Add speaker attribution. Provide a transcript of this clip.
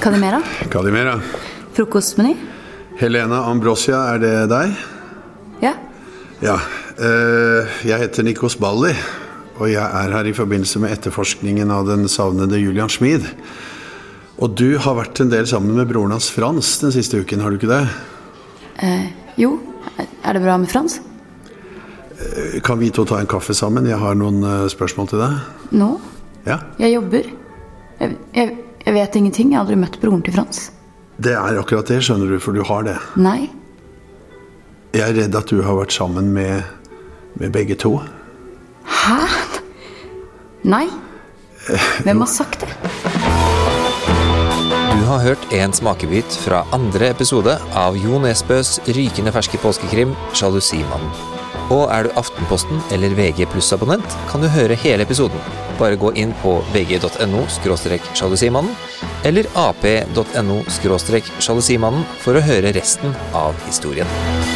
Speaker 1: Kadimera?
Speaker 2: Kadimera.
Speaker 1: Frokostmeny?
Speaker 2: Helena Ambrosia, er det deg?
Speaker 1: Ja.
Speaker 2: Ja. eh, jeg heter Nikos Balli, og jeg er her i forbindelse med etterforskningen av den savnede Julian Schmid. Og du har vært en del sammen med broren hans Frans den siste uken, har du ikke det?
Speaker 1: Eh, Jo. Er det bra med Frans?
Speaker 2: Kan vi to ta en kaffe sammen? Jeg har noen eh, spørsmål til deg.
Speaker 1: Nå?
Speaker 2: Ja?
Speaker 1: Jeg jobber. Jeg, jeg, jeg vet ingenting. Jeg har aldri møtt broren til Frans.
Speaker 2: Det er akkurat det, skjønner du, for du har det.
Speaker 1: Nei.
Speaker 2: Jeg er redd at du har vært sammen med, med begge to.
Speaker 1: Hæ? Nei. Hvem har sagt det?
Speaker 3: Du har hørt en smakebit fra andre episode av Jo Nesbøs rykende ferske påskekrim 'Sjalusimannen'. Og er du Aftenposten eller VG pluss-abonnent, kan du høre hele episoden. Bare gå inn på vg.no – sjalusimannen eller ap.no – sjalusimannen for å høre resten av historien.